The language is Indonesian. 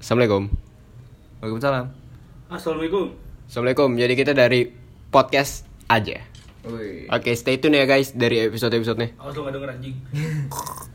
Assalamualaikum. Waalaikumsalam. Assalamualaikum. Assalamualaikum. Jadi kita dari podcast aja. Woi. Oke, stay tune ya guys dari episode-episodenya. Awas lu nggak denger anjing.